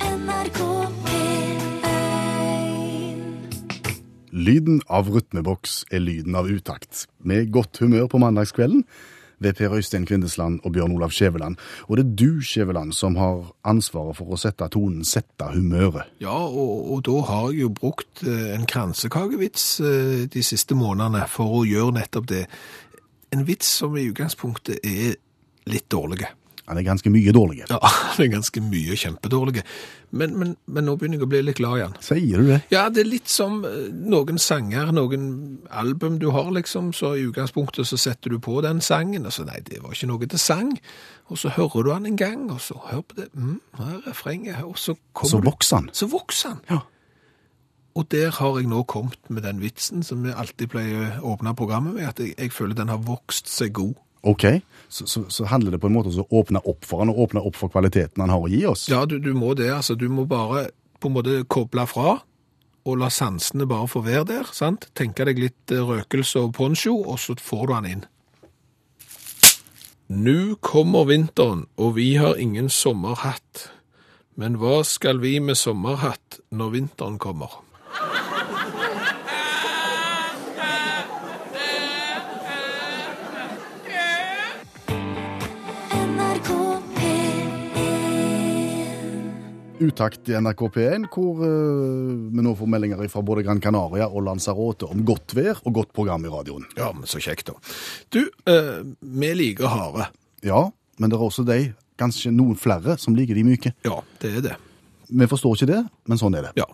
NRK P1 Lyden av rytmeboks er lyden av utakt. Med godt humør på mandagskvelden ved Per Øystein Kvindesland og Bjørn Olav Skjæveland. Og det er du, Skjæveland, som har ansvaret for å sette tonen, sette humøret. Ja, og, og da har jeg jo brukt eh, en kransekakevits eh, de siste månedene for å gjøre nettopp det. En vits som i utgangspunktet er litt dårlig. Han er ganske mye dårlig. Ja, det er ganske mye kjempedårlig. Men, men, men nå begynner jeg å bli litt glad igjen. Sier du det? Ja, det er litt som eh, noen sanger, noen album du har, liksom. Så i utgangspunktet så setter du på den sangen, og så nei, det var ikke noe til sang. Og så hører du han en gang, og så hør på det. Mm, her er refrenget, og så kommer Så du vokser han. så vokser han. Ja. Og der har jeg nå kommet med den vitsen som jeg alltid pleier å åpne programmet med, at jeg, jeg føler den har vokst seg god. Ok, så, så, så handler det på en måte om å åpne opp for han, og åpne opp for kvaliteten han har å gi oss. Ja, du, du må det, altså. Du må bare på en måte koble fra, og la sansene bare få være der, sant? Tenke deg litt eh, røkelse og poncho, og så får du han inn. Nu kommer vinteren, og vi har ingen sommerhatt. Men hva skal vi med sommerhatt når vinteren kommer? NRK P1 Utakt i NRK P1, hvor eh, vi nå får meldinger fra både Gran Canaria og Lanzarote om godt vær og godt program i radioen. Ja, men så kjekt da. Du, eh, vi liker hare. Ja, men det er også de, kanskje noen flere, som liker de myke. Ja, det er det. Vi forstår ikke det, men sånn er det. Ja.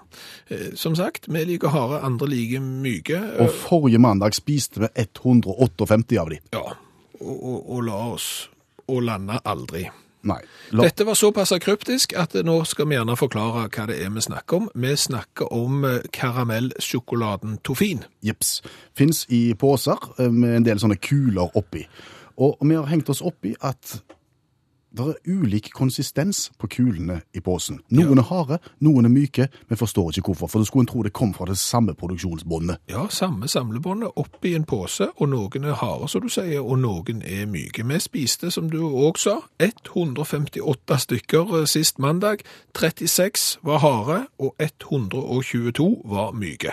Eh, som sagt, vi liker hare, andre liker myke. Eh, Og forrige mandag spiste vi 158 av de. ja, og, og, og la oss, og lande aldri. Nei. La, Dette var såpass kryptisk at eh, nå skal vi gjerne forklare hva det er vi snakker om. Vi snakker om eh, karamellsjokoladen Toffin. jeps. Fins i poser eh, med en del sånne kuler oppi. Og vi har hengt oss oppi at det er ulik konsistens på kulene i posen. Noen er harde, noen er myke. Vi forstår ikke hvorfor, for da skulle en tro det kom fra det samme produksjonsbåndet. Ja, samme samlebåndet oppi en pose, og noen er harde, som du sier, og noen er myke. Vi spiste, som du òg sa, 158 stykker eh, sist mandag. 36 var harde, og 122 var myke.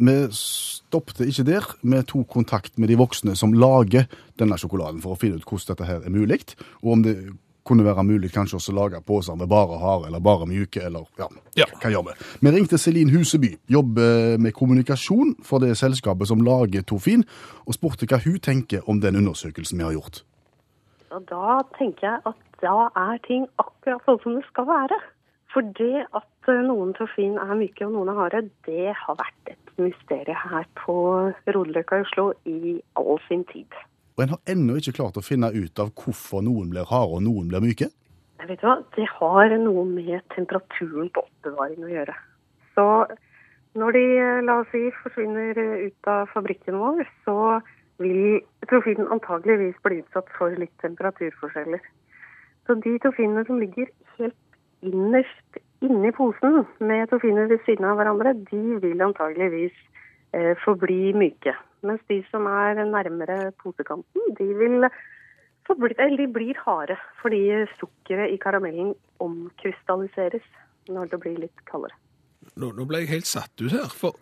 Vi stoppte ikke der. Vi tok kontakt med de voksne som lager denne sjokoladen, for å finne ut hvordan dette her er mulig, og om det kunne være mulig kanskje også å lage poser med bare harde eller bare mjuke, eller ja, Ja. hva gjør vi? Vi ringte Celine Huseby, jobber med kommunikasjon for det selskapet som lager Tofin, og spurte hva hun tenker om den undersøkelsen vi har gjort. Og da tenker jeg at da er ting akkurat sånn som det skal være. For det at eh, noen toffin er myke og noen er harde, det har vært et mysterium her på Rodeløkka i Oslo i all sin tid. Og en har ennå ikke klart å finne ut av hvorfor noen blir harde og noen blir myke. Jeg vet hva, Det har noe med temperaturen på oppbevaring å gjøre. Så når de, eh, la oss si, forsvinner eh, ut av fabrikken vår, så vil trofinen antageligvis bli utsatt for litt temperaturforskjeller. Så de trofinene som ligger helt innerst inni posen med trofiner ved siden av hverandre, de vil antageligvis eh, forbli myke. Mens de som er nærmere posekanten, de vil så blir, eller de blir harde fordi sukkeret i karamellen omkrystalliseres når det blir litt kaldere. Nå, nå ble jeg helt satt ut her. For,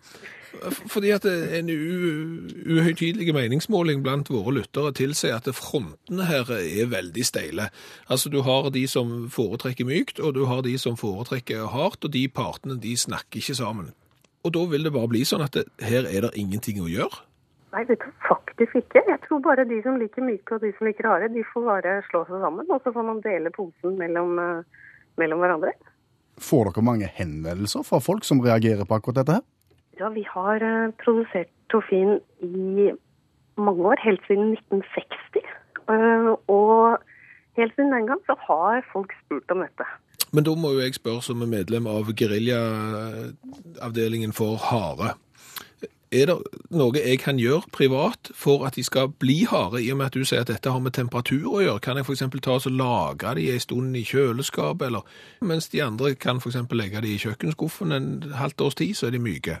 for- fordi at en u- uhøytidelig meningsmåling blant våre lyttere tilsier at frontene her er veldig steile. Altså, du har de som foretrekker mykt, og du har de som foretrekker hardt, og de partene de snakker ikke sammen. Og da vil det bare bli sånn at det, her er det ingenting å gjøre. Nei, vet du, faktisk ikke. Jeg tror bare de som liker myke og de som liker harde, de får bare slå seg sammen, og så får man dele posen mellom, eh, mellom hverandre. Får dere mange henvendelser fra folk som reagerer på akkurat dette her? Ja, vi har eh, produsert Toffin i mange år, helt siden 1960. Eh, og helt siden den gang så har folk spurt om dette. Men da må jo jeg spørre som er medlem av geriljaavdelingen for hare. Er det noe jeg kan gjøre privat for at de skal bli harde, i og med at du sier at dette har med temperatur å gjøre? Kan jeg f.eks. ta og så lagre de en stund i kjøleskapet, eller mens de andre kan f.eks. legge de i kjøkkenskuffen en halvt års tid, så er de myke?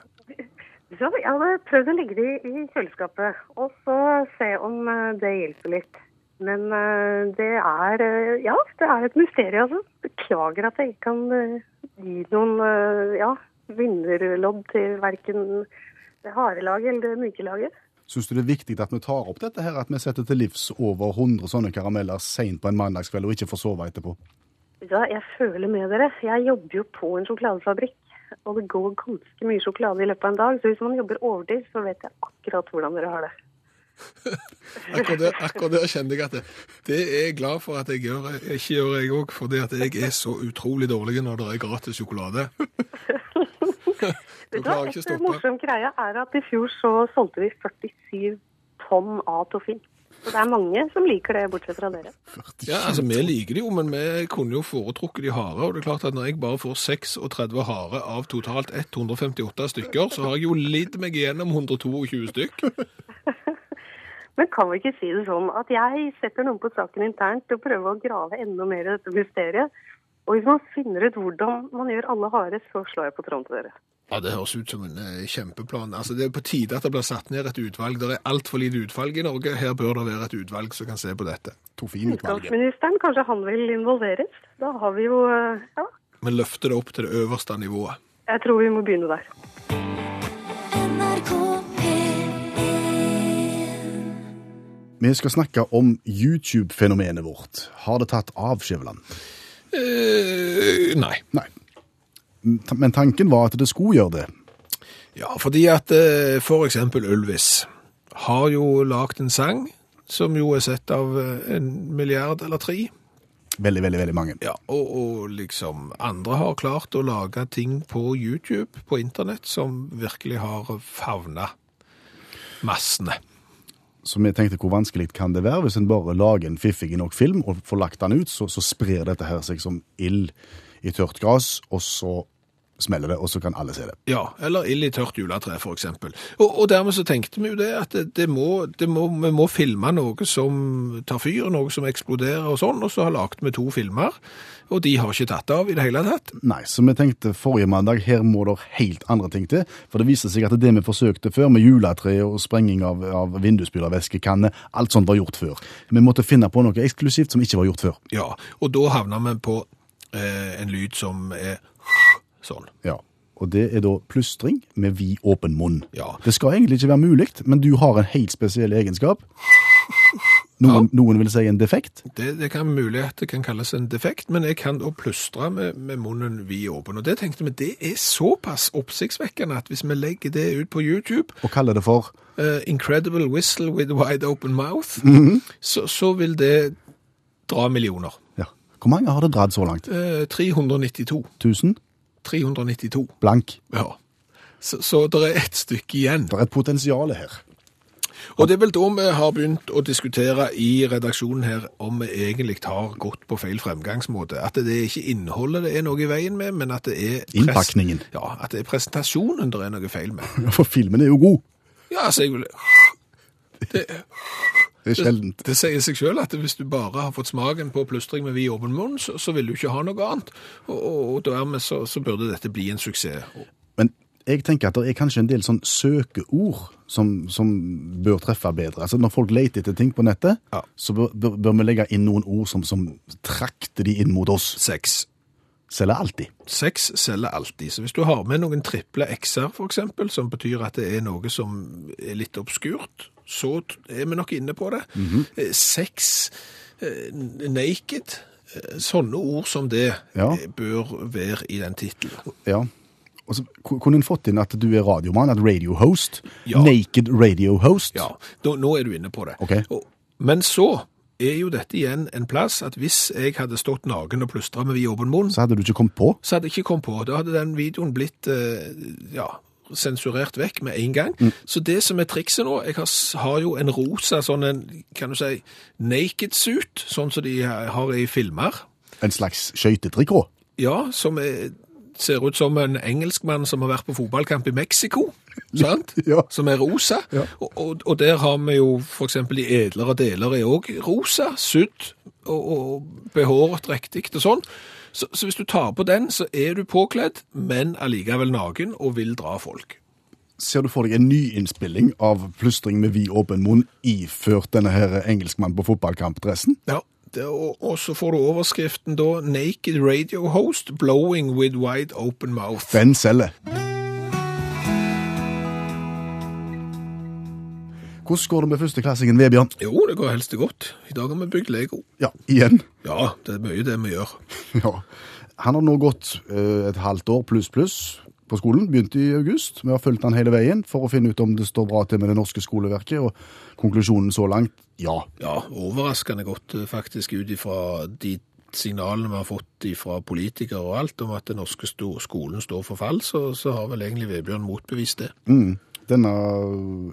Så jeg hadde prøvd å legge de i kjøleskapet, og så se om eh, det hjelper litt. Men eh, det er eh, Ja, det er et mysterium, altså. Beklager at jeg ikke kan eh, gi noen eh, ja, vinnerlodd til verken harelaget eller mykelaget. Syns du det er viktig at vi tar opp dette her, at vi setter til livs over 100 sånne karameller seint på en mandagskveld og ikke får sove etterpå? Ja, jeg føler med dere. Jeg jobber jo på en sjokoladefabrikk. Og det går ganske mye sjokolade i løpet av en dag, så hvis man jobber overtid, så vet jeg akkurat hvordan dere har det. Akkurat der, akkurat der kjente jeg at det, det er jeg glad for at jeg gjør, ikke gjør jeg òg, fordi at jeg er så utrolig dårlig når det er gratis sjokolade. Vet Da du hva, klarer jeg ikke å Et stoppe. morsom greie er at i fjor så solgte vi 47 tonn av toffin. Så det er mange som liker det, bortsett fra dere. Ja, altså Vi liker det jo, men vi kunne jo foretrukket de harde. Og det er klart at når jeg bare får 36 harde av totalt 158 stykker, så har jeg jo lidd meg igjennom 122 stykk. Men kan vi ikke si det sånn at jeg setter noen på saken internt og prøver å grave enda mer i dette mysteriet? Og hvis man finner ut hvordan man gjør alle harde, så slår jeg på tråden til dere. Ja, Det høres ut som en eh, kjempeplan. Altså, Det er på tide at det blir satt ned et utvalg. Det er altfor lite utvalg i Norge. Her bør det være et utvalg som kan se på dette. Tofinutvalget. Utgangsministeren, kanskje han vil involveres? Da har vi jo eh, Ja, Men løfte det opp til det øverste nivået. jeg tror vi må begynne der. NRK P1 Vi skal snakke om YouTube-fenomenet vårt. Har det tatt av, Skjæveland? Eh, nei. Nei. Ta- Men tanken var at det skulle gjøre det. Ja, fordi at eh, for eksempel Ulvis har jo lagt en sang som jo er sett av eh, en milliard eller tre. Veldig, veldig veldig mange. Ja, og, og liksom andre har klart å lage ting på YouTube, på internett, som virkelig har favna massene. Så vi tenkte hvor vanskelig kan det være hvis en bare lager en fiffig nok film og får lagt den ut, så, så sprer dette her seg som ild i tørt gress, og så smeller det, og så kan alle se det. Ja, eller ild i tørt juletre, for eksempel. Og, og dermed så tenkte vi jo det, at det, det må, det må, vi må filme noe som tar fyr, noe som eksploderer og sånn, og så har lagt vi to filmer, og de har ikke tatt av i det hele tatt. Nei, så vi tenkte forrige mandag her må det helt andre ting til. For det viste seg at det vi forsøkte før, med juletre og sprenging av, av vindusspylervæskekanner, alt sånt var gjort før. Vi måtte finne på noe eksklusivt som ikke var gjort før. Ja, og da havna vi på eh, en lyd som er sånn. Ja. Og det er da plystring med vid åpen munn. Ja. Det skal egentlig ikke være mulig, men du har en helt spesiell egenskap. Noen, noen vil si en defekt. Det, det kan mulig at det kan kalles en defekt, men jeg kan da plystre med, med munnen vid åpen. Og det tenkte vi, det er såpass oppsiktsvekkende at hvis vi legger det ut på YouTube, og kaller det for eh, Incredible Whistle with Wide Open Mouth, så, så vil det dra millioner. ja. Hvor mange har det dratt så langt? Eh, 392. 1000? 392, Blank. ja. Så, så det er et stykke igjen. Det er et potensial her. Og det er vel da vi har begynt å diskutere i redaksjonen her om vi egentlig har gått på feil fremgangsmåte. At det er ikke innholdet det er noe i veien med, men at det er pres- Innpakningen. Ja, at det er presentasjonen det er noe feil med. For filmen er jo god. Ja, altså jeg vil... Det, Det er sjeldent. det sier seg selv at hvis du bare har fått smaken på plystring med vid åpen munn, så, så vil du ikke ha noe annet. Og, og, og dermed så, så burde dette bli en suksess. Og- Men jeg tenker at det er kanskje en del sånn søkeord som, som bør treffe bedre. Altså Når folk leter etter ting på nettet, Ja. så bør, bør, bør vi legge inn noen ord som, som trakter de inn mot oss. Sex. Selger alltid. Seks selger alltid, så hvis du har med noen triple X-er for eksempel, som betyr at det er noe som er litt obskurt, så t- er vi nok inne på det. Mhm. Eh, Sex, eh, naked, eh, sånne ord som det Ja. eh, bør være i den titelen. Ja. Og så ku- Kunne en fått inn at du er radiomann, at radio host? Ja. Naked radio host? Ja, nå, nå er du inne på det. Ok. Og- Men så er jo dette igjen en plass at hvis jeg hadde stått nagen og plystret med vid åpen munn, Så hadde du ikke kommet på? så hadde jeg ikke kommet på. Da hadde den videoen blitt eh, ja, sensurert vekk med en gang. Mm. Så det som er trikset nå Jeg har, s- har jo en rosa sånn en, kan du si, naked suit, sånn som de har i filmer. En slags skøytetrikk òg? Ja, som er, ser ut som en engelskmann som har vært på fotballkamp i Mexico, sant? Ja. Som er rosa. Og, og, og der har vi jo for eksempel de edlere deler er også rosa, sudd og, og behåret riktig og sånn. Så, så hvis du tar på den, så er du påkledd, men allikevel naken og vil dra folk. Ser du for deg en nyinnspilling av plystring med vid åpen munn iført denne her engelskmannen på fotballkampdressen? Ja, det, og, og så får du overskriften da 'Naked radio host blowing with wide open mouth'. Den selger. Hvordan går det med førsteklassingen, Vebjørn? Jo, det går helst godt. I dag har vi bygd Lego. Ja, igjen. Ja, det er mye det vi gjør. Ja. Han har nå gått eh, et halvt år pluss pluss på skolen, begynte i august. Vi har fulgt han hele veien for å finne ut om det står bra til med det norske skoleverket, og konklusjonen så langt ja. Ja, overraskende godt eh, faktisk ut ifra de signalene vi har fått fra politikere og alt om at den norske sto- skolen står for fall, så, så har vel egentlig Vebjørn motbevist det. Mm. Denne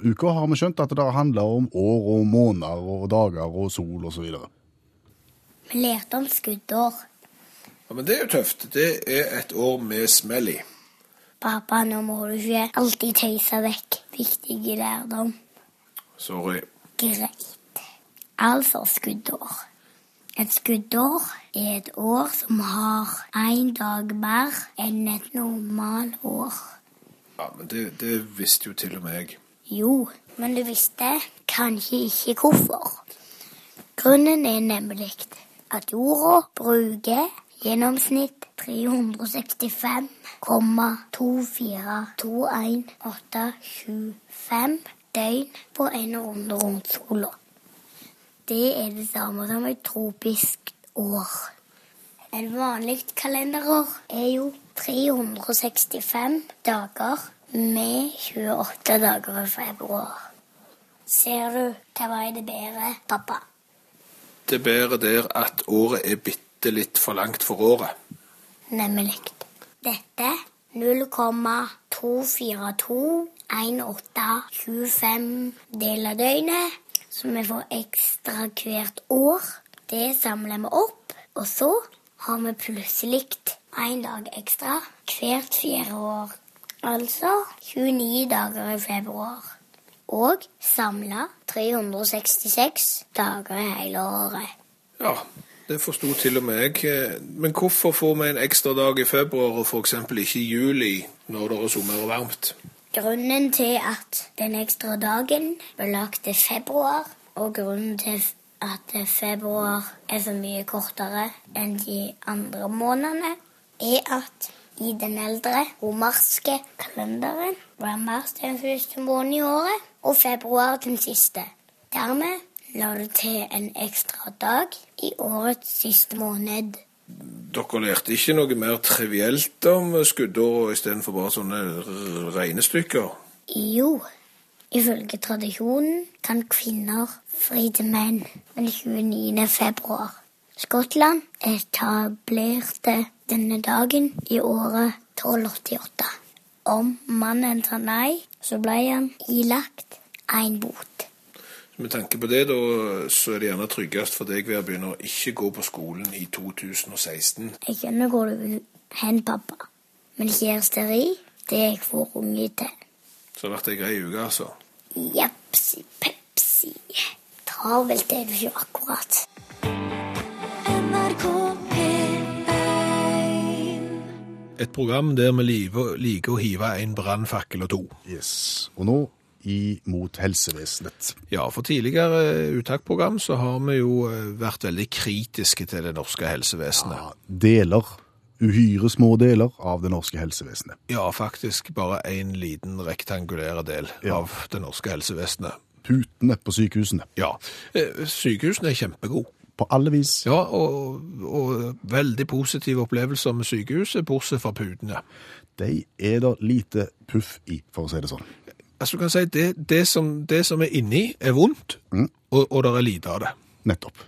uka har vi skjønt at det handler om år og måneder og dager og sol osv. Vi lærte om skuddår. Ja, Men det er jo tøft. Det er et år med smell i. Pappa, nå må du ikke alltid tøyse vekk viktige lærdom. Sorry. Greit. Altså skuddår. Et skuddår er et år som har én dag mer enn et normalår. Ja, men det, det visste jo til og med jeg. Jo, men du visste kanskje ikke hvorfor. Grunnen er nemlig at jorda bruker gjennomsnitt 365,242185 døgn på en runde rundt sola. Det er det samme som et tropisk år. En vanlig kalenderår er jo 365 dager med 28 dager i februar. Ser du hva vei det bærer, pappa? Det bærer der at året er bitte litt for langt for året. Nemlig dette 0,2421825 del av døgnet, som vi får ekstra hvert år. Det samler vi opp, og så har vi plutselig én dag ekstra hvert fjerde år. Altså 29 dager i februar. Og samla 366 dager i hele året. Ja, det forsto til og med jeg. Eh, Men hvorfor får vi en ekstra dag i februar og f.eks. ikke i juli, når det er sommer og varmt? Grunnen til at den ekstra dagen ble lagt til februar, og grunnen til f- at februar er så mye kortere enn de andre månedene, er at i den eldre romerske kalenderen var mars den første måneden i året og februar den siste. Dermed la det til en ekstra dag i årets siste måned. Dere lærte ikke noe mer trivielt om skuddår istedenfor bare sånne r- regnestykker? Jo, ifølge tradisjonen kan kvinner fri til menn den 29. februar. Skottland etablerte denne dagen i året 1288. Om mannen sa nei, så ble han ilagt en bot. Med tanke på det, da, så er det gjerne tryggest for deg ved å begynne å ikke gå på skolen i 2016. Jeg skjønner hvor du vil hen, pappa, men kjæresteri, det er jeg for unge til. Så har det vært ei grei uke, altså. Japsi pepsi. Travelt er du ikke akkurat. NRK P1 Et program der vi liker liker å hive en brannfakkel og to. Yes. Og nå imot helsevesenet. Ja, for tidligere eh, uttaksprogram så har vi jo eh, vært veldig kritiske til det norske helsevesenet. Ja, deler, uhyre små deler av det norske helsevesenet. Ja, faktisk bare en liten rektangulær del av det norske helsevesenet. Putene på sykehusene. Ja, eh, sykehusene er kjempegode. På alle vis. Ja, og, og veldig positive opplevelser med sykehuset, bortsett fra putene. De er det lite puff i, for å si det sånn. Altså, du kan si det, det, som, det som er inni er vondt, og, og det er lite av det. Nettopp.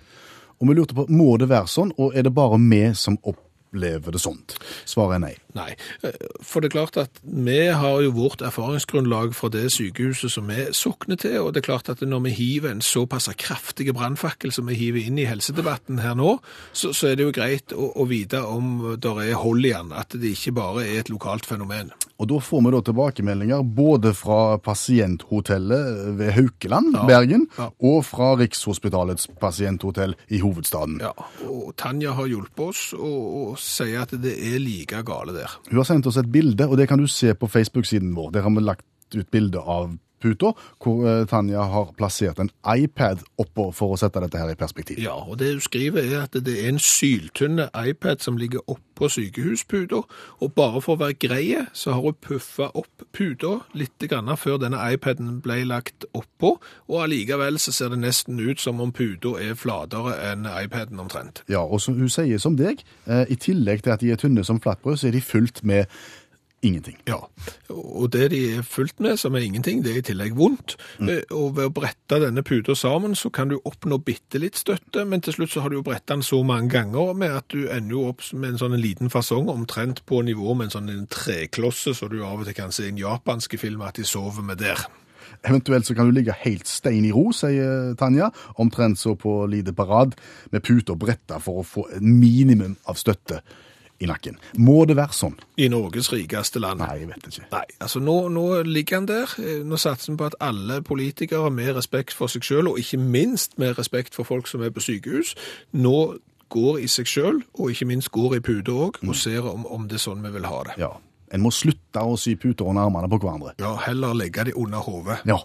Og vi lurte på, må det være sånn, og er det bare vi som opplever det sånt? Svaret er nei. Nei, eh, for det er klart at vi har jo vårt erfaringsgrunnlag fra det sykehuset som vi sokner til, og det er klart at når vi hiver en såpass kraftig brannfakkel som vi hiver inn i helsedebatten her nå, så, så er det jo greit å, å vite om det er hold i den, at det ikke bare er et lokalt fenomen. Og da får vi da tilbakemeldinger både fra pasienthotellet ved Haukeland, Bergen, Ja. og fra Rikshospitalets pasienthotell i hovedstaden. Ja, og Tanja har hjulpet oss og, og sier at det er like gale der. Hun har sendt oss et bilde, og det kan du se på Facebook-siden vår. Der har vi lagt lagt ut bilde av puta, hvor eh, Tanja har plassert en iPad oppå for å sette dette her i perspektiv. Ja, og det hun skriver er at det er en syltynne iPad som ligger oppå sykehusputa, og bare for å være greie, så har hun puffa opp puta litt grann før denne iPaden ble lagt oppå, og allikevel så ser det nesten ut som om puta er flatere enn iPaden omtrent. Ja, og som hun sier som deg, eh, i tillegg til at de er tynne som flatbrød, så er de fylt med ingenting. Ja, og det de er fullt med, som er ingenting, det er i tillegg vondt. Eh, Og ved å brette denne puta sammen, så kan du oppnå bitte litt støtte, men til slutt så har du jo bretta den så mange ganger med at du ender jo opp med en sånn en liten fasong, omtrent på nivå med en sånn en treklosse, så du av og til kan se i en japanske film at de sover med der. Eventuelt så kan du ligge helt stein i ro, sier Tanja, omtrent så på lite parad, med pute og bretta for å få et minimum av støtte i nakken. Må det være sånn? I Norges rikeste land. Nei, jeg vet ikke. Nei, altså nå, nå ligger han der. Eh, Nå satser han på at alle politikere med respekt for seg selv, og ikke minst med respekt for folk som er på sykehus, nå går i seg selv, og ikke minst går i pude òg, og ser om, om det er sånn vi vil ha det. Ja, en må slutte å sy puter under armene på hverandre. Ja, heller legge de under hodet. Ja.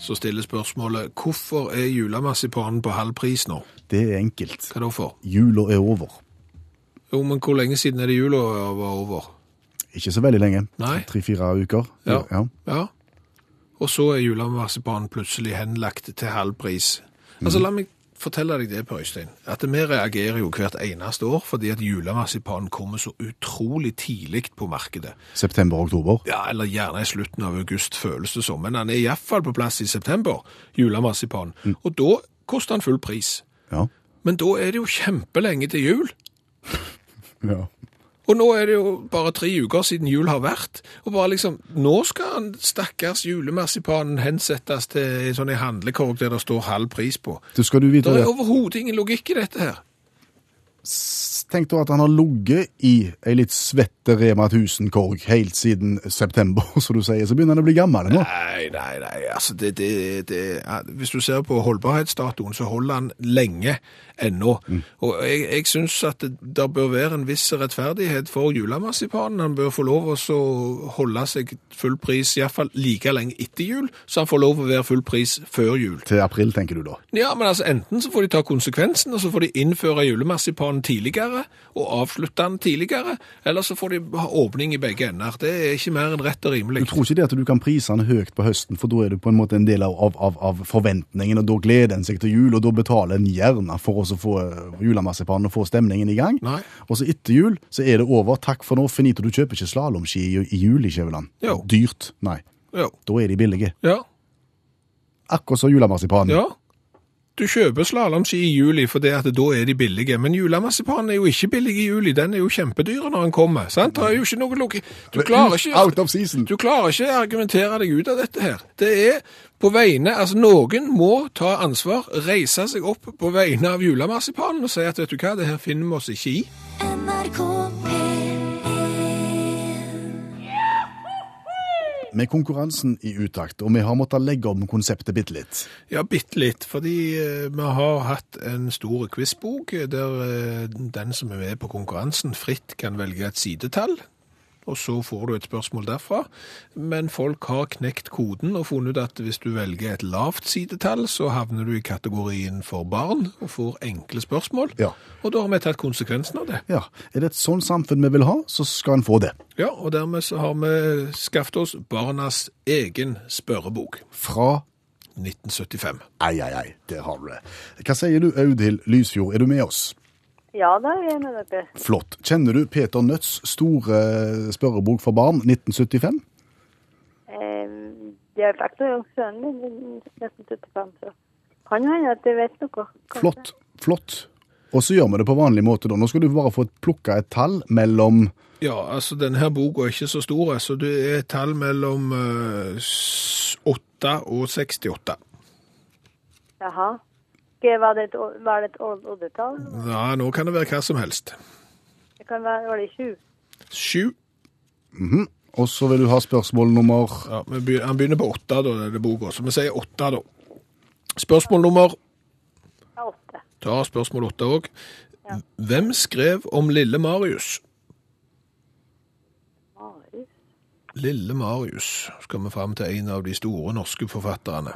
Så stiller spørsmålet hvorfor er julemarsipanen på halv pris nå? Det er enkelt. Hva da for? Jula er over. Jo, men hvor lenge siden er det jula var over? Ikke så veldig lenge. Nei. Tre-fire uker. Ja. ja. Ja. Og så er julemarsipanen plutselig henlagt til halv pris. Altså, la meg fortelle deg det, Per Øystein, at vi reagerer jo hvert eneste år fordi at julemarsipanen kommer så utrolig tidlig på markedet. September-oktober. Ja, eller gjerne i slutten av august føles det som, men han er iallfall på plass i september, julemarsipanen. Og da koster han full pris. Ja. Men da er det jo kjempelenge til jul. ja. Og nå er det jo bare tre uker siden jul har vært, og bare liksom, nå skal han, stakkars julemarsipanen hensettes til en sånn en handlekorg der det står halv pris på. Du skal du Det vite er det. overhodet ingen logikk i dette her. Tenk da at han har ligget i ei litt svette Rema 1000-korg helt siden september, som du sier. Så begynner han å bli gammel nå. Nei, nei, nei, altså det, det, det ja, Hvis du ser på holdbarhetsdatoen, så holder han lenge ennå. Og jeg, jeg synes at det der bør være en viss rettferdighet for julemarsipanen. Han bør få lov å så holde seg full pris, iallfall like lenge etter jul, så han får lov å være full pris før jul. Til april, tenker du da. Ja, men altså enten så får de ta konsekvensen, og så får de innføre julemarsipanen tidligere, og avslutte den tidligere, eller så får de ha åpning i begge ender. Det er ikke mer enn rett Du og rimelig. tror ikke det at du kan prise han høyt på høsten, for da er du på en måte en del av, av- av, av forventningen, og da gleder en seg til jul, og da betaler en gjerne for å så få eh, julemarsipanen og få stemningen i gang. Nei. Og så etter jul, så er det over. Takk for nå, finito. Du kjøper ikke slalåmski i, i jul i Kjøveland. Jo. Dyrt. Nei. Jo. Da er de billige. Ja, Akkurat som julemarsipanen. ja. Du kjøper slalomski i juli, for det at da er de billige, men julemarsipanen er jo ikke billig i juli, den er jo kjempedyr når han kommer, sant? Det er jo ikke noe logikk. Du klarer ikke... Out of season. Du klarer ikke å argumentere deg ut av dette her. Det er på vegne, altså Noen må ta ansvar, reise seg opp på vegne av julemarsipanen og si at vet du hva, det her finner vi oss ikke i. NRK P1 Med konkurransen i utakt, og vi har måttet legge om konseptet bitte litt. Ja, bitte litt, fordi eh, vi har hatt en stor quizbok eh, der eh, den som er med på konkurransen fritt kan velge et sidetall, og så får du et spørsmål derfra. Men folk har knekt koden og funnet ut at hvis du velger et lavt sidetall, så havner du i kategorien for barn og får enkle spørsmål. Ja. Og da har vi tatt konsekvensen av det. Ja, Er det et sånn samfunn vi vil ha, så skal en få det. Ja, og dermed så har vi skaffet oss barnas egen spørrebok, Fra 1975. Ei, ei, ei, der har du det. Hva sier du, Audhild Lysfjord, er du med oss? Ja da, jeg er med dere. Flott. Kjenner du Peter Nøtts store eh, spørrebok for barn, 1975? Ehm, Jeg har vært med sønnen min i nesten 75, så kan hende at jeg vet noe. kanskje. Flott. Flott. Og så gjør vi det på vanlig måte, da. Nå skal du bare få plukka et tall mellom Ja, altså denne her boka er ikke så stor, så det er et tall mellom eh, s- 8 og 68. Jaha. Skal- Var det et, o- var det et o- oddetall? Ja, nå kan det være hva som helst. Det kan være var det 20. 7. Og så vil du ha spørsmål nummer Ja, vi begy- han begynner på 8 da, denne boka, så vi sier 8 da. Spørsmål nummer, Ja, 8. ta spørsmål 8 også. Hvem skrev om Lille Marius? Lille Marius skal vi fram til en av de store norske forfatterne.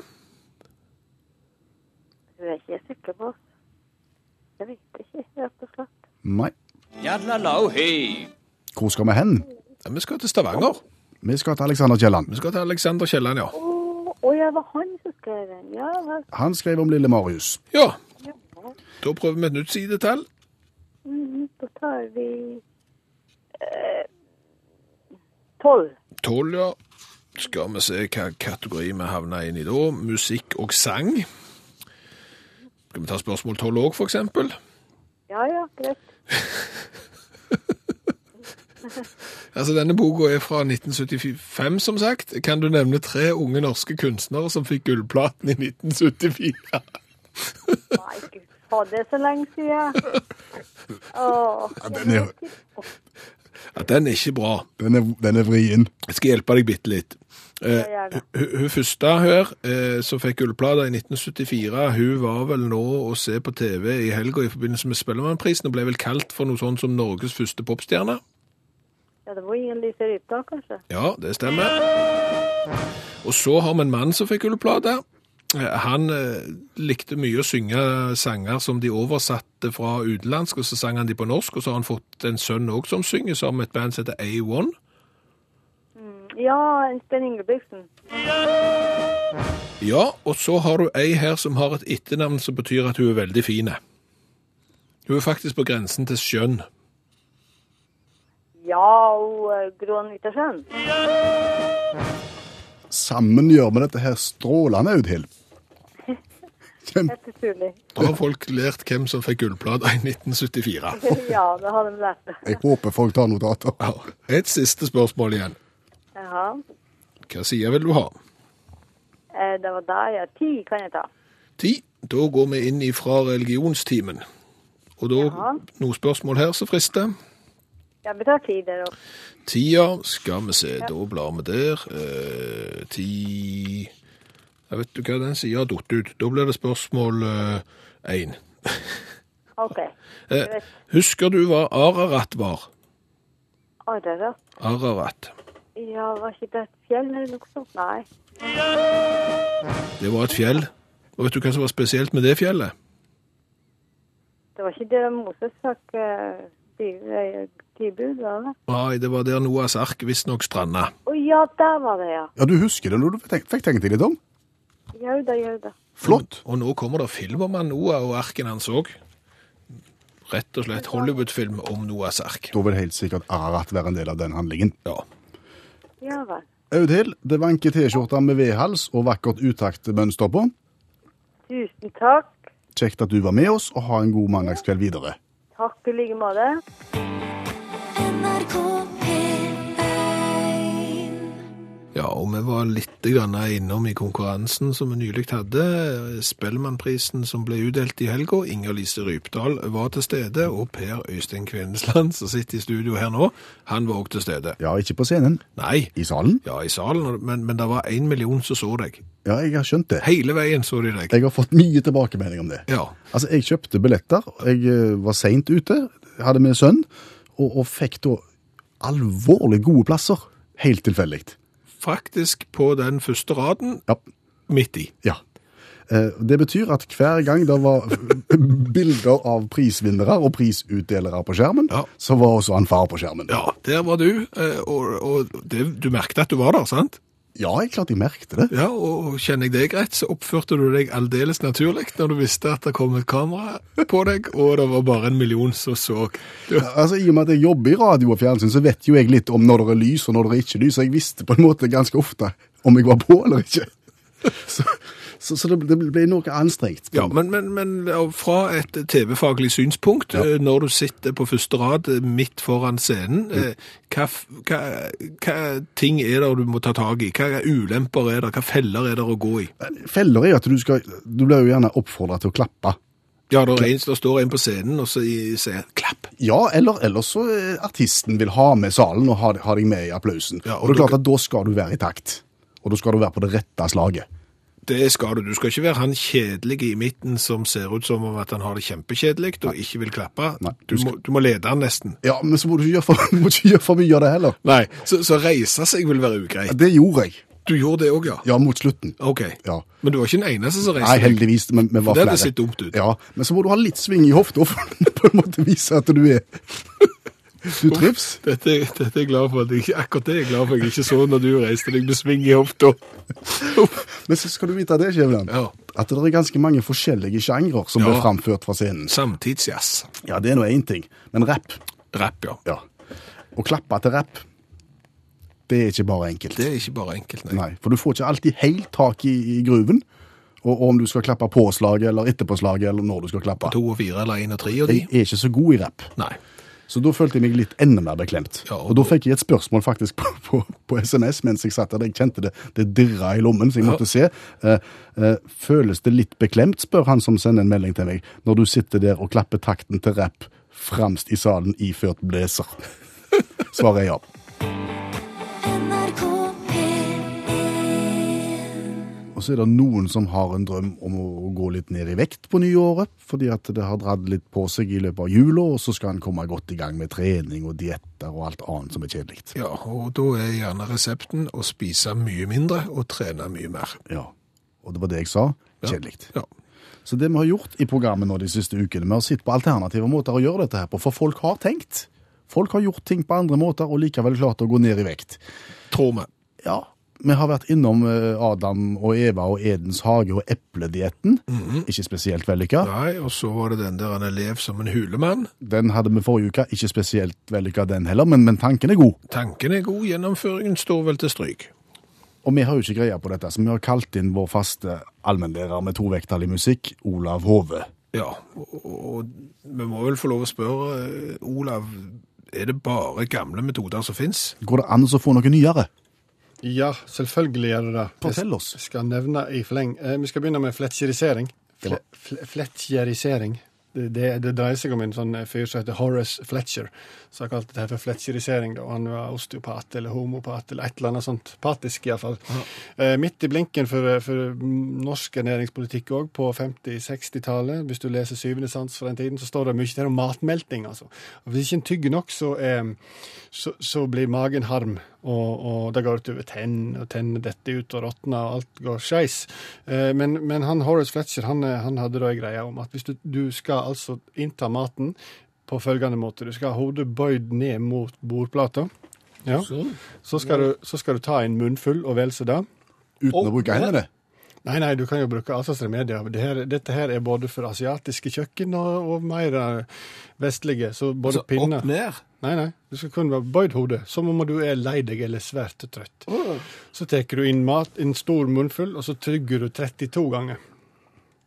Hun er ikke jeg sikker på. Jeg vet ikke, rett og slett. Nei. Jadlalau, hei! Hvor skal vi hen? Ja, vi skal til Stavanger. Vi skal til Alexander Kielland. Vi skal til Alexander Kielland, ja. Å, å ja, det var han som skrev den. Ja vel. Han skrev om lille Marius. Ja, da prøver vi et nytt sidetall. Mhm, Da tar vi eh, tolv. 12, ja. Skal vi se hva kategori vi havner inn i da. Musikk og sang. Skal vi ta spørsmål 12 òg, for eksempel? ja ja, greit. Altså, denne boka er fra 1975, som sagt. Kan du nevne tre unge norske kunstnere som fikk gullplaten i 1974? Nei, gud fader, det er så lenge siden. Åh, den er- Ja, den er ikke bra. Den er, den er vrien. Jeg skal hjelpe deg bitte litt. Eh, Ja, gjerne. hun hun første her, eh, som fikk gullplata i 1974, hun var vel nå å se på TV i helga i forbindelse med Spellemannprisen, og ble vel kalt for noe sånt som Norges første popstjerne. ja, det var ingen Lise Rypdal, kanskje? Ja, det stemmer. Og så har vi en mann som fikk gullplate. Eh, Han eh, likte mye å synge sanger som de oversatte fra utenlandsk, og så sang han de på norsk, og så har han fått en sønn òg som synger, som et band som heter A1. Ja, en Stein Ingebrigtsen. Ja, og så har du ei her som har et etternavn som betyr at hun er veldig fin. Hun er faktisk på grensen til skjønn. Ja, og eh, Grå Nyttårsøen. Sammen gjør vi dette her strålende, Audhild. Kjempe. Helt utrolig. Da har folk lært hvem som fikk gullplata i 1974. ja, det har de lært. Jeg håper folk tar notater. Ja, et siste spørsmål igjen. Jaha. Hva sier vil du ha? Eh, Det var der, ja. Ti kan jeg ta. Ti. Da går vi inn ifra religionstimen. Og da Ja. noen spørsmål her som frister. Ja, vi tar ti der òg. Tida, skal vi se, da blar vi der. Eh, ti Jeg vet du hva den sier, datt ut. Da blir det spørsmål eh, én. OK. eh, husker du hva Ararat var? Ararat. Ararat. Ja, var ikke det et fjell eller noe sånt? Nei. Det var et fjell. Og vet du hva som var spesielt med det fjellet? Det var ikke det Moses fikk eh, ti- eh, ti bud, var det? Nei, det var der Noas ark visstnok stranda. Å ja, der var det, ja. Ja, du husker det når du tenk- fikk tenkt deg litt om? Jau da, jau da. Flott. Og nå kommer det filmer med Noah og arken hans òg. Rett og slett Hollywood-film om Noahs ark. Da vil helt sikkert Ararat være en del av den handlingen. Ja. Ja vel. Audhild, det vanker T-skjorta med V-hals og vakkert utaktmønster på. Tusen takk. Kjekt at du var med oss, og ha en god mandagskveld videre. Takk i like måte. NRK P1 ja, og vi var litt grann innom i konkurransen som vi nylig hadde. Spellemannprisen som ble utdelt i helga. Inger Lise Rypdal var til stede, og Per Øystein Kvindesland, som sitter i studio her nå, han var òg til stede. Ja, ikke på scenen. Nei, I salen? ja, i salen, men, men det var én million som så deg. Ja, jeg har skjønt det. Hele veien så de deg. Jeg har fått mye tilbakemelding om det. Ja. Altså, jeg kjøpte billetter, og jeg eh, var seint ute, hadde med sønn, og, og fikk da alvorlig gode plasser. Helt tilfeldig. Faktisk på den første raden, Ja. midt i. ja. Eh, Det betyr at hver gang det var bilder av prisvinnere og prisutdelere på skjermen, Ja. så var også han far på skjermen. Ja, der var du, eh, og, og det, du merket at du var der, sant? Ja, jeg klart jeg merkte det. Ja, og og kjenner jeg deg rett, så oppførte du deg aldeles naturlig når du visste at det kom et kamera på deg, og det var bare en million som så. Du, Altså, I og med at jeg jobber i radio og fjernsyn, så vet jo jeg litt om når det er lys og når det er ikke lys. så Jeg visste på en måte ganske ofte om jeg var på eller ikke. Så, så, så det, det ble noe anstrengt. Ja, men, men, men ja, fra et TV-faglig synspunkt, eh, når du sitter på første rad eh, midt foran scenen, eh, hva, f- hva, hva ting er det du må ta tag i? Hva ulemper er det? Hva feller er det å gå i? Feller er jo at du skal Du blir jo gjerne oppfordra til å klappe. Ja, der, er en, der står en på scenen og så i- sier klapp. Ja, eller ellers så eh, artisten vil ha med salen og ha, ha deg med i applausen. Ja, og og, det er dere- klart at da skal du være i takt. Og da skal du være på det rette slaget. Det skal du. Du skal ikke være han kjedelige i midten som ser ut som om at han har det kjempekjedelig og ikke vil klappe. Nei, du, må, du må lede han nesten. Ja, men så må du ikke gjøre for, må ikke gjøre for mye av det heller. Nei, så, så reise seg vil være Ja, ugreit. Det gjorde jeg. Du gjorde det òg, ja? Ja, mot slutten. OK. Ja. Men du var ikke den eneste som Nei, reiste deg. heldigvis, men vi var Det flere. hadde sett dumt ut. Ja, men så må du ha litt sving i hofta for å på en måte vise at du er Du trives. Dette, dette er jeg glad for at jeg, akkurat det er jeg glad for at jeg ikke så når du reiste deg med sving i hofta. Men så skal du vite det, Skjæveland, Ja. at det er ganske mange forskjellige sjangre som blir Ja. framført fra scenen. Samtidsjazz. Ja, det er nå én ting, men rapp Rapp, ja. Ja. Å klappe til rapp, det er ikke bare enkelt. Det er ikke bare enkelt, nei. Nei, For du får ikke alltid helt tak i, i gruven. Og, og om du skal klappe på slaget eller etterpå slaget, eller når du skal klappe. To og fire eller én og tre og de. Jeg er ikke så god i rapp. Nei. Så da følte jeg meg litt enda mer beklemt. Ja, og- og, da fikk jeg et spørsmål faktisk på, på, på SMS mens jeg satt der. Jeg kjente det, det dirra i lommen, så jeg Ja. måtte se. Eh, eh, føles det litt beklemt, spør han som sender en melding til meg, når du sitter der og klapper takten til rapp fremst i salen iført blazer. Svarer jeg ja. NRK P1 Og så er det noen som har en drøm om å gå litt ned i vekt på nyåret, fordi at det har dratt litt på seg i løpet av jula, og så skal en komme godt i gang med trening og dietter og alt annet som er kjedelig. Ja, og da er gjerne resepten å spise mye mindre og trene mye mer. Ja. Og det var det jeg sa. Ja. Kjedelig. Ja. Så det vi har gjort i programmet nå de siste ukene, vi har sett på alternative måter å gjøre dette her på, for folk har tenkt. Folk har gjort ting på andre måter og likevel klart å gå ned i vekt. Tror vi. Ja, vi har vært innom eh, Adam og Eva og Edens hage og epledietten. Ikke spesielt vellykka. Nei, og så var det den der han er lev som en hulemann. Den hadde vi forrige uke. Ikke spesielt vellykka den heller, men, men tanken er god. Tanken er god, gjennomføringen står vel til stryk. Og vi har jo ikke greie på dette, så vi har kalt inn vår faste allmennlærer med to vekttall i musikk, Olav Hove. Ja, og, og vi må vel få lov å spørre, eh, Olav, er det bare gamle metoder som finnes? Går det an å få noe nyere? Ja, selvfølgelig gjør det det. Fortell oss. Jeg skal nevne i fleng. Eh, Vi skal begynne med fletjerisering. Det var- Fle fle- fletjerisering. Det, det, det dreier seg om en sånn fyr som heter Horace Fletcher, som har kalt det her for fletjerisering. Da. Han var osteopat eller homopat eller et eller annet sånt. Patisk, iallfall. Eh, midt i blinken for, for mm, norsk ernæringspolitikk òg, på 50-60-tallet. Hvis du leser Syvende sans fra den tiden, så står det mye der om matmelting, altså. Og hvis ikke en tygger nok, så er så, så blir magen harm, og, og det går utover tenn, og tennene detter ut og råtner, og alt går skeis. Eh, men, men han Horace Fletcher han, eh, han hadde da en greie om at hvis du, du skal altså innta maten på følgende måte Du skal ha hodet bøyd ned mot bordplata. Ja. Sånn. Så, skal du, så skal du ta en munnfull og vel så det. Uten Å, å bruke ja. hendene? Nei, nei, du kan jo bruke allslagsremedier. Det her, dette her er både for asiatiske kjøkken og, og mer eh, vestlige. Så både Så pinner opp ned? Nei, nei. Du skal kun være bøyd hode, som om du er lei deg eller svært trøtt. Så tar du inn mat, en stor munnfull, og så trygger du 32 ganger.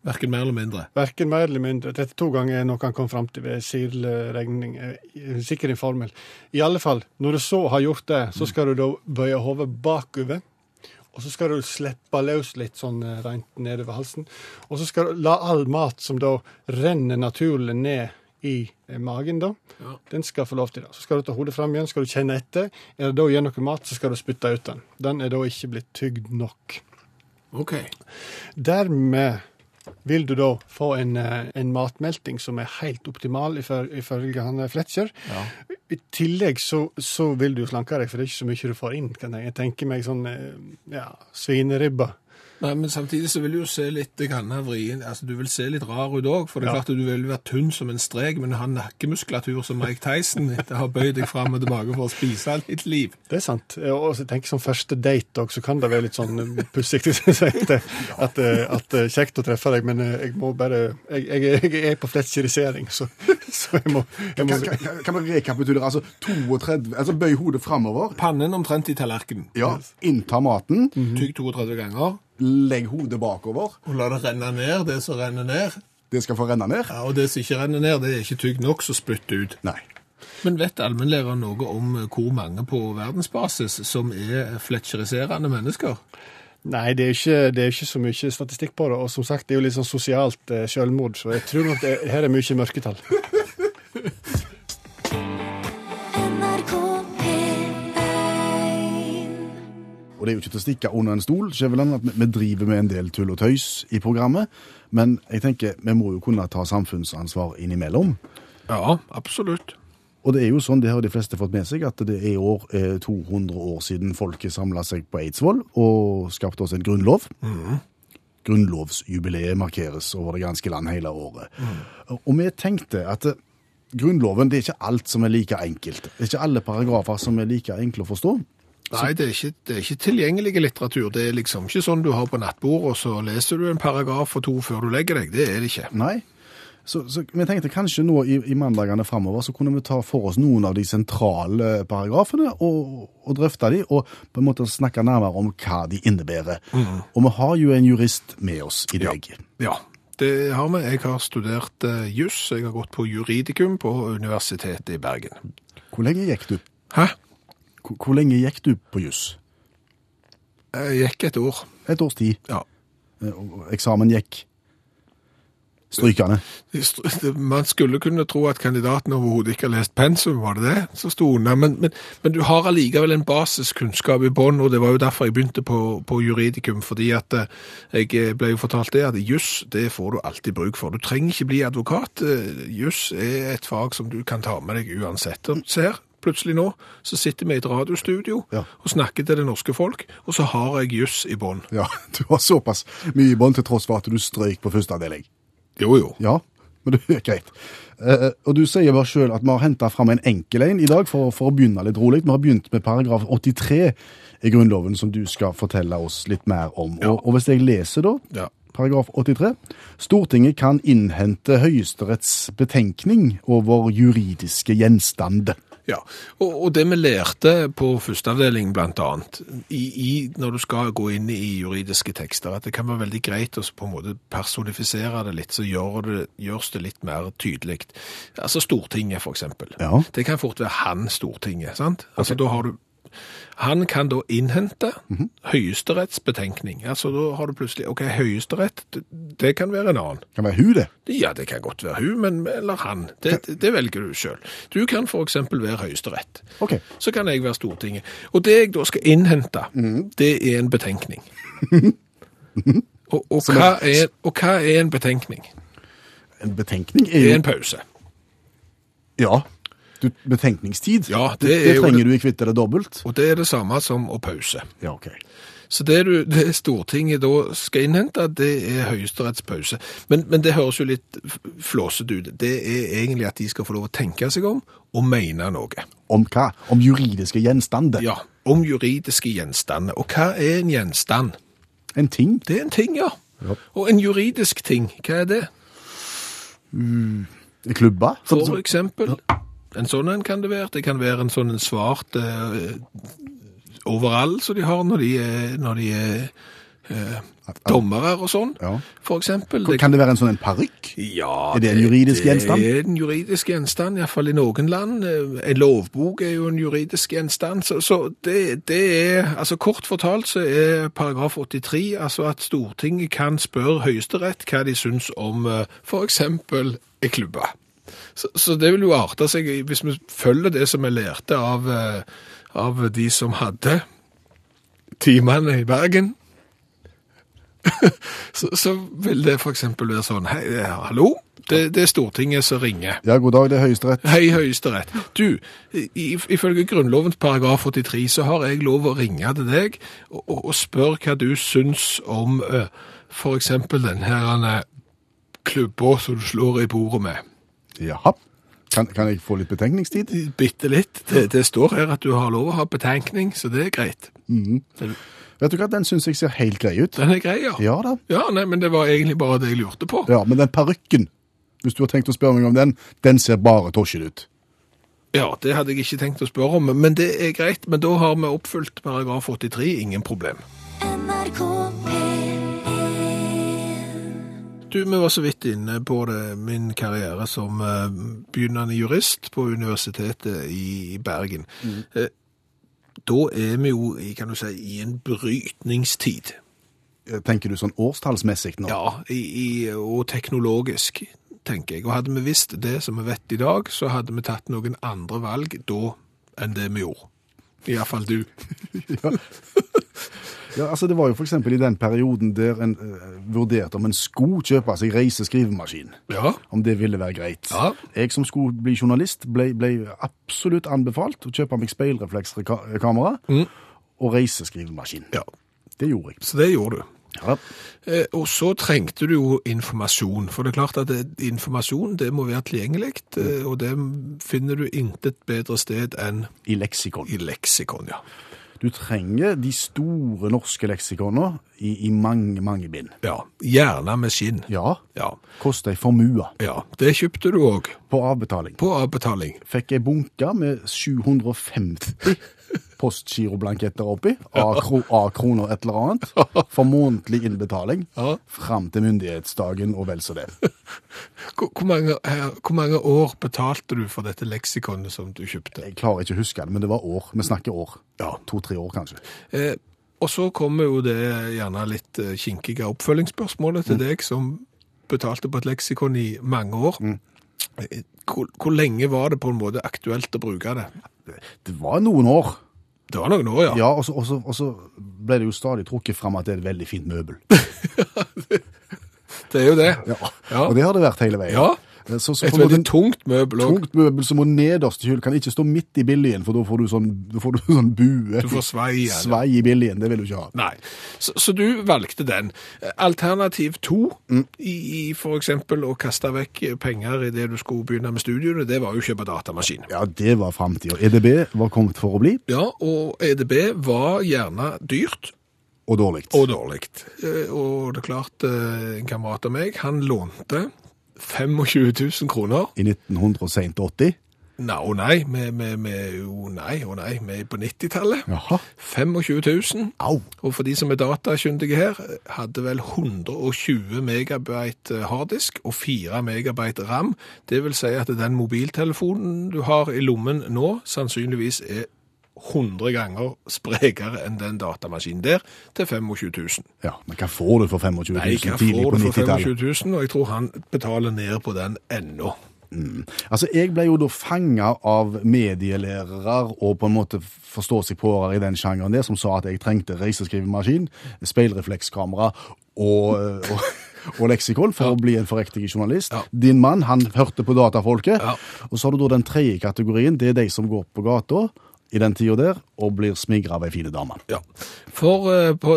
Hverken mer eller mindre. Verken mer eller mindre. 32 ganger er noe han kom fram til ved Sirle-regning. eh, Sikkert en formel. I alle fall, når du så har gjort det, så skal du da bøye hodet bakover. Og så skal du slippe løs litt sånn eh, rent nedover halsen. Og så skal du la all mat som da renner naturlig ned i eh, magen, da, den skal få lov til det. Så skal du ta hodet fram igjen, skal du kjenne etter. Er det da igjen noe mat, så skal du spytte ut den. Den er da ikke blitt tygd nok. Ok. Dermed vil du da få en, eh, en matmelting som er helt optimal, ifør- ifølge han Fletcher. I tillegg så, så vil du jo slanke deg, for det er ikke så mye du får inn. kan Jeg Jeg tenker meg sånn eh, ja, svineribba. Nei, men samtidig så vil du jo se litt grann av vrien, altså du vil se litt rar ut òg, for det er Ja. klart at du vil være tynn som en strek, men ha nakkemuskulatur som Mike Tyson etter å ha bøyd deg fram og tilbake for å spise litt liv. Det er sant. Eh, Og så tenker jeg som første date òg, så kan det være litt sånn eh, pussig. At, eh, at, eh, at eh, kjekt å treffe deg, men eh, jeg må bare Jeg, jeg, jeg er på fletcherisering, så, så jeg må, jeg må Kan, kan, kan vi rekapitulere? Altså 32 altså Bøy hodet framover. Pannen omtrent i tallerkenen. Ja, innta maten. Tygg 32 ganger, Legg hodet bakover. og la det renne ned det som renner ned. Det skal få renne ned. Ja, Og det som ikke renner ned, det er ikke tygd nok, så spytt det ut. Nei. Men vet allmennlæreren noe om eh, hvor mange på verdensbasis som er fletcheriserende mennesker? Nei, det er, jo ikke, det er jo ikke så mye statistikk på det. Og som sagt, det er jo litt sånn sosialt eh, selvmord, så jeg tror nok det, her er mye mørketall. NRK P1 Og det er jo ikke til å stikke under en stol, Skjæveland, at vi- vi driver med en del tull og tøys i programmet. Men jeg tenker, vi må jo kunne ta samfunnsansvar innimellom. Ja, absolutt. Og det er jo sånn, det har de fleste fått med seg, at det er i år eh, 200 år siden folket samla seg på Eidsvoll og skapte oss en grunnlov. Grunnlovsjubileet markeres over det ganske land hele året. Og vi tenkte at eh, Grunnloven det er ikke alt som er like enkelt. Det er ikke alle paragrafer som er like enkle å forstå. Nei, det er, ikke, det er ikke tilgjengelig litteratur. Det er liksom ikke sånn du har på nattbordet, og så leser du en paragraf og to før du legger deg. Det er det ikke. Nei. Så, så vi tenkte kanskje nå i, i mandagene framover så kunne vi ta for oss noen av de sentrale paragrafene og, og drøfte de, og på en måte snakke nærmere om hva de innebærer. Og vi har jo en jurist med oss i dag. Ja, det har vi. Jeg har studert eh, juss. Jeg har gått på juridikum på Universitetet i Bergen. Hvor, lenge gikk du, Hæ? hvor, hvor lenge gikk du på juss? Jeg gikk et år. Et års tid. Ja. Eh, og Eksamen gikk strykende. Man skulle kunne tro at kandidaten overhodet ikke har lest pensum, var det det? Så sto hun der. Men, men, men du har allikevel en basiskunnskap i bånn, og det var jo derfor jeg begynte på, på juridikum. Fordi at eh, jeg ble jo fortalt det at juss, det får du alltid bruk for. Du trenger ikke bli advokat. Eh, Juss er et fag som du kan ta med deg uansett. Og Se her, plutselig nå så sitter vi i et radiostudio Ja. og snakker til det norske folk, og så har jeg juss i bånn. Ja, du har såpass mye i bånd til tross for at du strøyk på første avdeling. Jo, jo. Ja, men det er greit. Eh, og du sier bare selv at vi har hentet frem en enkel en i dag for, for å begynne litt rolig. Vi har begynt med paragraf 83 i grunnloven som du skal fortelle oss litt mer om. Og, og hvis jeg leser da, Ja. paragraf 83, Stortinget kan innhente høyesterets betenkning over juridiske gjenstande. Ja, og, og det vi lærte på førsteavdelingen blant annet, i, i, når du skal gå inn i juridiske tekster, at det kan være veldig greit å på en måte personifisere det litt, så gjør det, gjørs det litt mer tydelig. Altså Stortinget, for eksempel. Ja. Det kan fort være han Stortinget, sant? Altså da har du han kan da innhente høyesteretts betenkning. Altså da har du plutselig, ok, høyesterett, det, det kan være en annen. Kan være hun det? Ja, det kan godt være hun, men eller han. Det, det, det velger du selv. Du kan for eksempel være høyesterett. Ok. Så kan jeg være Stortinget. Og det jeg da skal innhente, det er en betenkning. og, og, hva er, og hva er en betenkning? En betenkning er Det jo... er en pause. Ja. Du, betenkningstid? Ja, det det, er jo trenger det- du i kvitte det dobbelt. Og det er det samme som å pause. Ja, ok. Så det, du, det Stortinget da skal innhente, det er Høyesteretts pause. Men, men det høres jo litt f- flåsete ut. Det er egentlig at de skal få lov å tenke seg om og mene noe. Om hva? Om juridiske gjenstande? Ja, om juridiske gjenstander. Og hva er en gjenstand? En ting? Det er en ting, ja. Og en juridisk ting, hva er det? Klubba? For eksempel, en sånn en kan det være. Det kan være en sånn en svart eh, overall som de har når de er, når de er eh, dommere og sånn, Ja. for eksempel. Det Kan det være en sånn en parykk? Ja, Er det en juridisk gjenstand? Det er en juridisk gjenstand, iallfall i noen land. Eh, En lovbok er jo en juridisk gjenstand. Så, så det, det er altså Kort fortalt så er paragraf 83 altså at Stortinget kan spørre Høyesterett hva de syns om eh, f.eks. ei klubbe. Så, så det vil jo arte seg, i- hvis vi følger det som vi lærte av, eh, av de som hadde timene i Bergen så, så vil det for eksempel være sånn, hei, eh, hallo, det, det er Stortinget som ringer. Ja, god dag, det er Høyesterett. Hei, Høyesterett. Du, i, ifølge Grunnlovens paragraf 83 så har jeg lov å ringe til deg og, og, og spørre hva du syns om eh, for eksempel den her eh, klubba som du slår i bordet med. Jaha. Kan, kan jeg få litt betenkningstid? Bitte litt. Det, det står her at du har lov å ha betenkning, så det er greit. Vet du hva, den syns jeg ser helt grei ut. Den er grei, ja. Ja da. Ja, nei, men det var egentlig bare det jeg lurte på. Ja, Men den parykken, hvis du har tenkt å spørre meg om den, den ser bare tosjen ut. Ja, det hadde jeg ikke tenkt å spørre om, men det er greit. Men da har vi oppfylt paragraf 83, ingen problem. NRK P1 Du, vi var så vidt inne på det, min karriere som eh, begynnende jurist på Universitetet i Bergen. Eh, da er vi jo, i, kan du si, i en brytningstid. Tenker du sånn årstallsmessig nå? Ja, i, i, og teknologisk, tenker jeg. Og hadde vi visst det som vi vet i dag, så hadde vi tatt noen andre valg da enn det vi gjorde. Iallfall du. Ja, altså Det var jo f.eks. i den perioden der en eh, vurderte om en skulle kjøpe seg reise-skrivemaskin. Ja. Om det ville være greit. Ja. Jeg som skulle bli journalist, ble, ble absolutt anbefalt å kjøpe meg speilreflekskamera Mm. og reiseskrivemaskin. ja. Det gjorde jeg. Så det gjorde du. Ja. Eh, Og så trengte du jo informasjon, for det er klart at det, informasjon det må være tilgjengelig, eh, og det finner du intet bedre sted enn I leksikon. i leksikon, ja. Du trenger de store norske leksikonene i, i mange, mange bind. ja. Gjerne med skinn. Ja. Ja. Koster ei formue ja. Det kjøpte du òg, på avbetaling. på avbetaling. Fikk ei bunke med 750 postgiroblanketter oppi, av kro- av kroner et eller annet, for månedlig innbetaling Ja. fram til myndighetsdagen og vel så det. Hvor, hvor, mange, eh, hvor mange år betalte du for dette leksikonet som du kjøpte? Jeg klarer ikke å huske det, men det var år. Vi snakker år. Ja. To-tre år, kanskje. Eh, og så kommer jo det gjerne litt eh, kinkige oppfølgingsspørsmålet Mm. til deg, som betalte på et leksikon i mange år. Mm. Eh, Hvor, hvor lenge var det på en måte aktuelt å bruke det? Det var noen år. Det var noen år, ja. Ja, og så, og så, og så ble det jo stadig trukket fram at det er et veldig fint møbel. Det er jo det. Ja. Ja. Og det har det vært hele veien. Ja. Så, så Et på en måte veldig tungt møbel òg. tungt møbel som må nederst i hyllen, kan ikke stå midt i billigen, for da får du sånn, da får du sånn bue. Du får svei i den. Svei i billigen, det vil du ikke ha. Nei. Så, så du valgte den. Eh, Alternativ to, Mm. i, i for eksempel å kaste vekk penger i det du skulle begynne med studiene, det var jo å kjøpe datamaskin. Ja, det var framtida. EDB var kommet for å bli, Ja, og EDB var gjerne dyrt, og dårlig. Og dårlig. Eh, Og det er klart, eh, en kamerat av meg, han lånte 25 000 kroner. I 1980. Nei og nei, vi vi- vi er jo nei og nei, vi er på 90-tallet. Jaha. 25 000. Au. Og for de som er datakyndige her, hadde vel 120 megabyte eh, harddisk og 4 megabyte RAM. Det vil si at den mobiltelefonen du har i lommen nå, sannsynligvis er 100 ganger sprekere enn den datamaskinen der, til 25 000. Ja, men hva får du for 25 Nei, hva 000 tidlig får på du for 90-tallet? 25 000? Og jeg tror han betaler ned på den ennå. Altså, jeg ble jo da fanga av medielærere og på en måte forstå seg påere i den sjangeren der, som sa at jeg trengte reiseskrivemaskin, speilreflekskamera og, og, og leksikon for å bli en forrektig journalist. Din mann, han hørte på datafolket. Ja. Og så har du da den tredje kategorien, det er de som går på gata i den tida der og blir smigra av ei fin dame. Ja. For eh, på,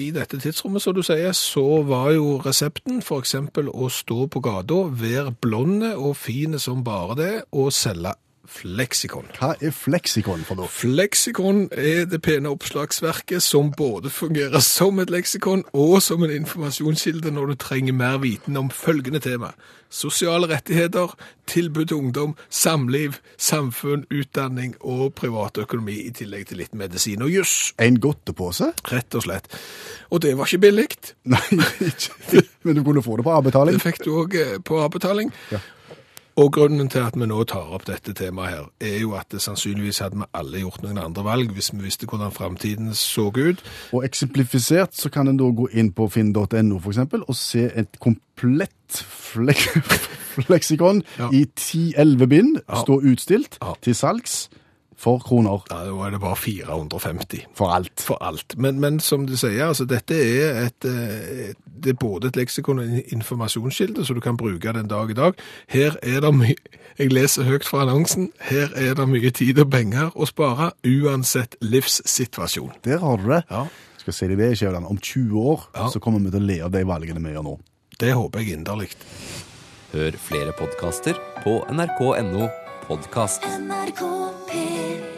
i dette tidsrommet, som du sier, så var jo resepten f.eks. å stå på gata, være blonde og fine som bare det, og selge fleksikon. Hva er fleksikon for noe? Fleksikon er det pene oppslagsverket som både fungerer som et leksikon og som en informasjonskilde når du trenger mer viten om følgende tema. Sosiale rettigheter, tilbud til ungdom, samliv, samfunn, utdanning og privatøkonomi, i tillegg til litt medisin og juss, En godtepose? rett og slett. Og det var ikke billig. Nei, ikke. men du kunne få det på avbetaling. Det fikk du òg på avbetaling. Og grunnen til at vi nå tar opp dette temaet her, er jo at det sannsynligvis hadde vi alle gjort noen andre valg hvis vi visste hvordan framtiden så ut. Og eksemplifisert så kan en da gå inn på finn.no for eksempel, og se et komplett flek fleksikon Ja. i 10-11 bind stå utstilt Ja. til salgs for kroner Ja, da er det bare 450 for alt. for alt. Men, men som du sier, altså dette er et, eh, det er både et leksikon og en informasjonskilde, så du kan bruke den dag i dag. Her er det mye, jeg leser høyt fra annonsen, her er det mye tid og penger å spare, uansett livssituasjon. Der har du det. Ja. Skal jeg si deg det, Kjøland, om 20 år Ja. så kommer vi til å le av de valgene vi gjør nå. Det håper jeg inderlig. Hør flere podkaster på nrk.no podkast. NRK P3